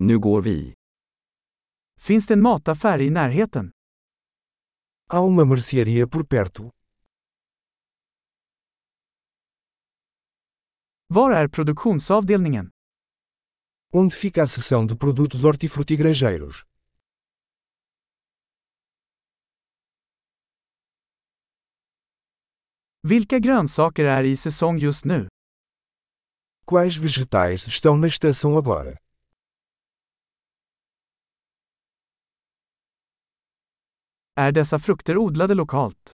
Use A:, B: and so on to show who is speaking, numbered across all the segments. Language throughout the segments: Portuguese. A: Nu går vi.
B: Finns det en mataffär i närheten?
C: Há uma mercearia por perto.
B: Var är produktionsavdelningen?
C: Onde fica a seção de produtos hortifrutigranjeiros?
B: Vilka grönsaker är i säsong just nu?
C: Quais vegetais estão na estação agora?
B: Är dessa frukter odlade lokalt?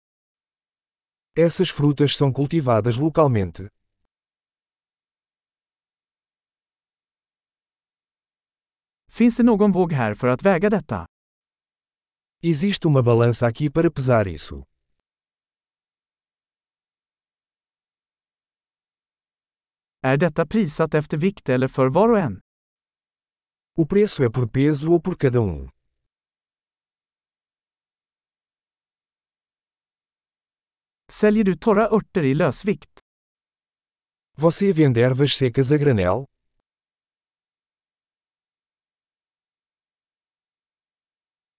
C: Essas frutas são cultivadas localmente.
B: Finns det någon våg här för att väga detta?
C: Existe uma balança aqui para pesar isso.
B: Är detta prissatt efter vikt eller för var och en?
C: O preço é por peso ou por cada um.
B: Säljer du torra örter i lösvikt?
C: Você vende ervas secas a granel?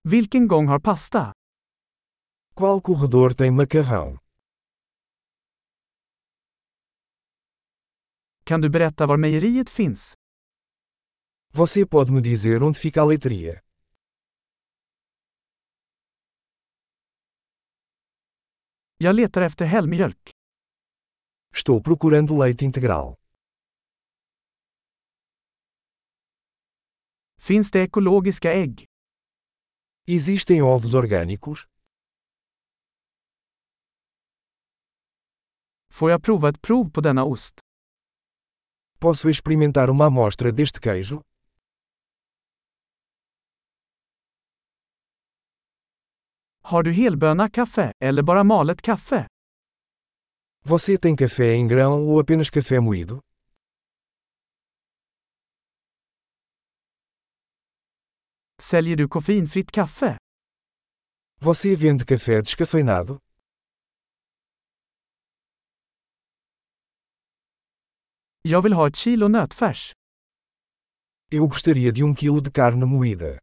B: Vilken gång har pasta?
C: Qual corredor tem macarrão?
B: Kan du berätta var mejeriet finns?
C: Você pode me dizer onde fica a leitria?
B: Jag letar efter helmjölk.
C: Estou procurando leite integral.
B: Finns det ekologiska ägg?
C: Existem ovos orgânicos?
B: Får jag prova ett prov på denna ost?
C: Posso experimentar uma amostra deste queijo?
B: Har du helböna kaffe, eller bara malet kaffe?
C: Você tem café em grão ou apenas café moído?
B: Säljer du koffeinfritt kaffe?
C: Você vende café descafeinado?
B: Jag vill ha ett kilo nötfärs.
C: Eu gostaria de um quilo de carne moída.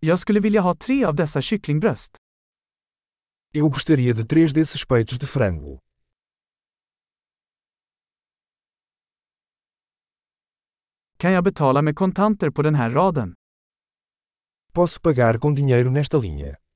B: Jag skulle vilja ha tre av dessa kycklingbröst.
C: Eu gostaria de três desses peitos de frango.
B: Kan jag betala med kontanter på den här raden?
C: Posso pagar com dinheiro nesta linha.